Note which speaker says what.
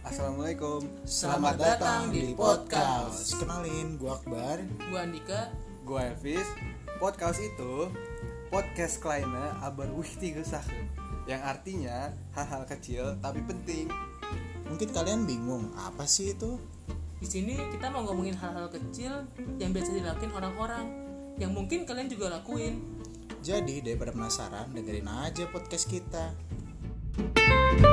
Speaker 1: Assalamualaikum.
Speaker 2: Selamat datang di podcast.
Speaker 3: Kenalin, gua Akbar.
Speaker 2: Gua Andika.
Speaker 1: Gua Elvis. Podcast itu podcast kleine aber wichtige Sachen. Yang artinya hal-hal kecil tapi penting.
Speaker 3: Mungkin kalian bingung, apa sih itu?
Speaker 2: Di sini kita mau ngomongin hal-hal kecil yang biasa dilakuin orang-orang yang mungkin kalian juga lakuin.
Speaker 3: Jadi daripada penasaran, dengerin aja podcast kita.
Speaker 1: Oke,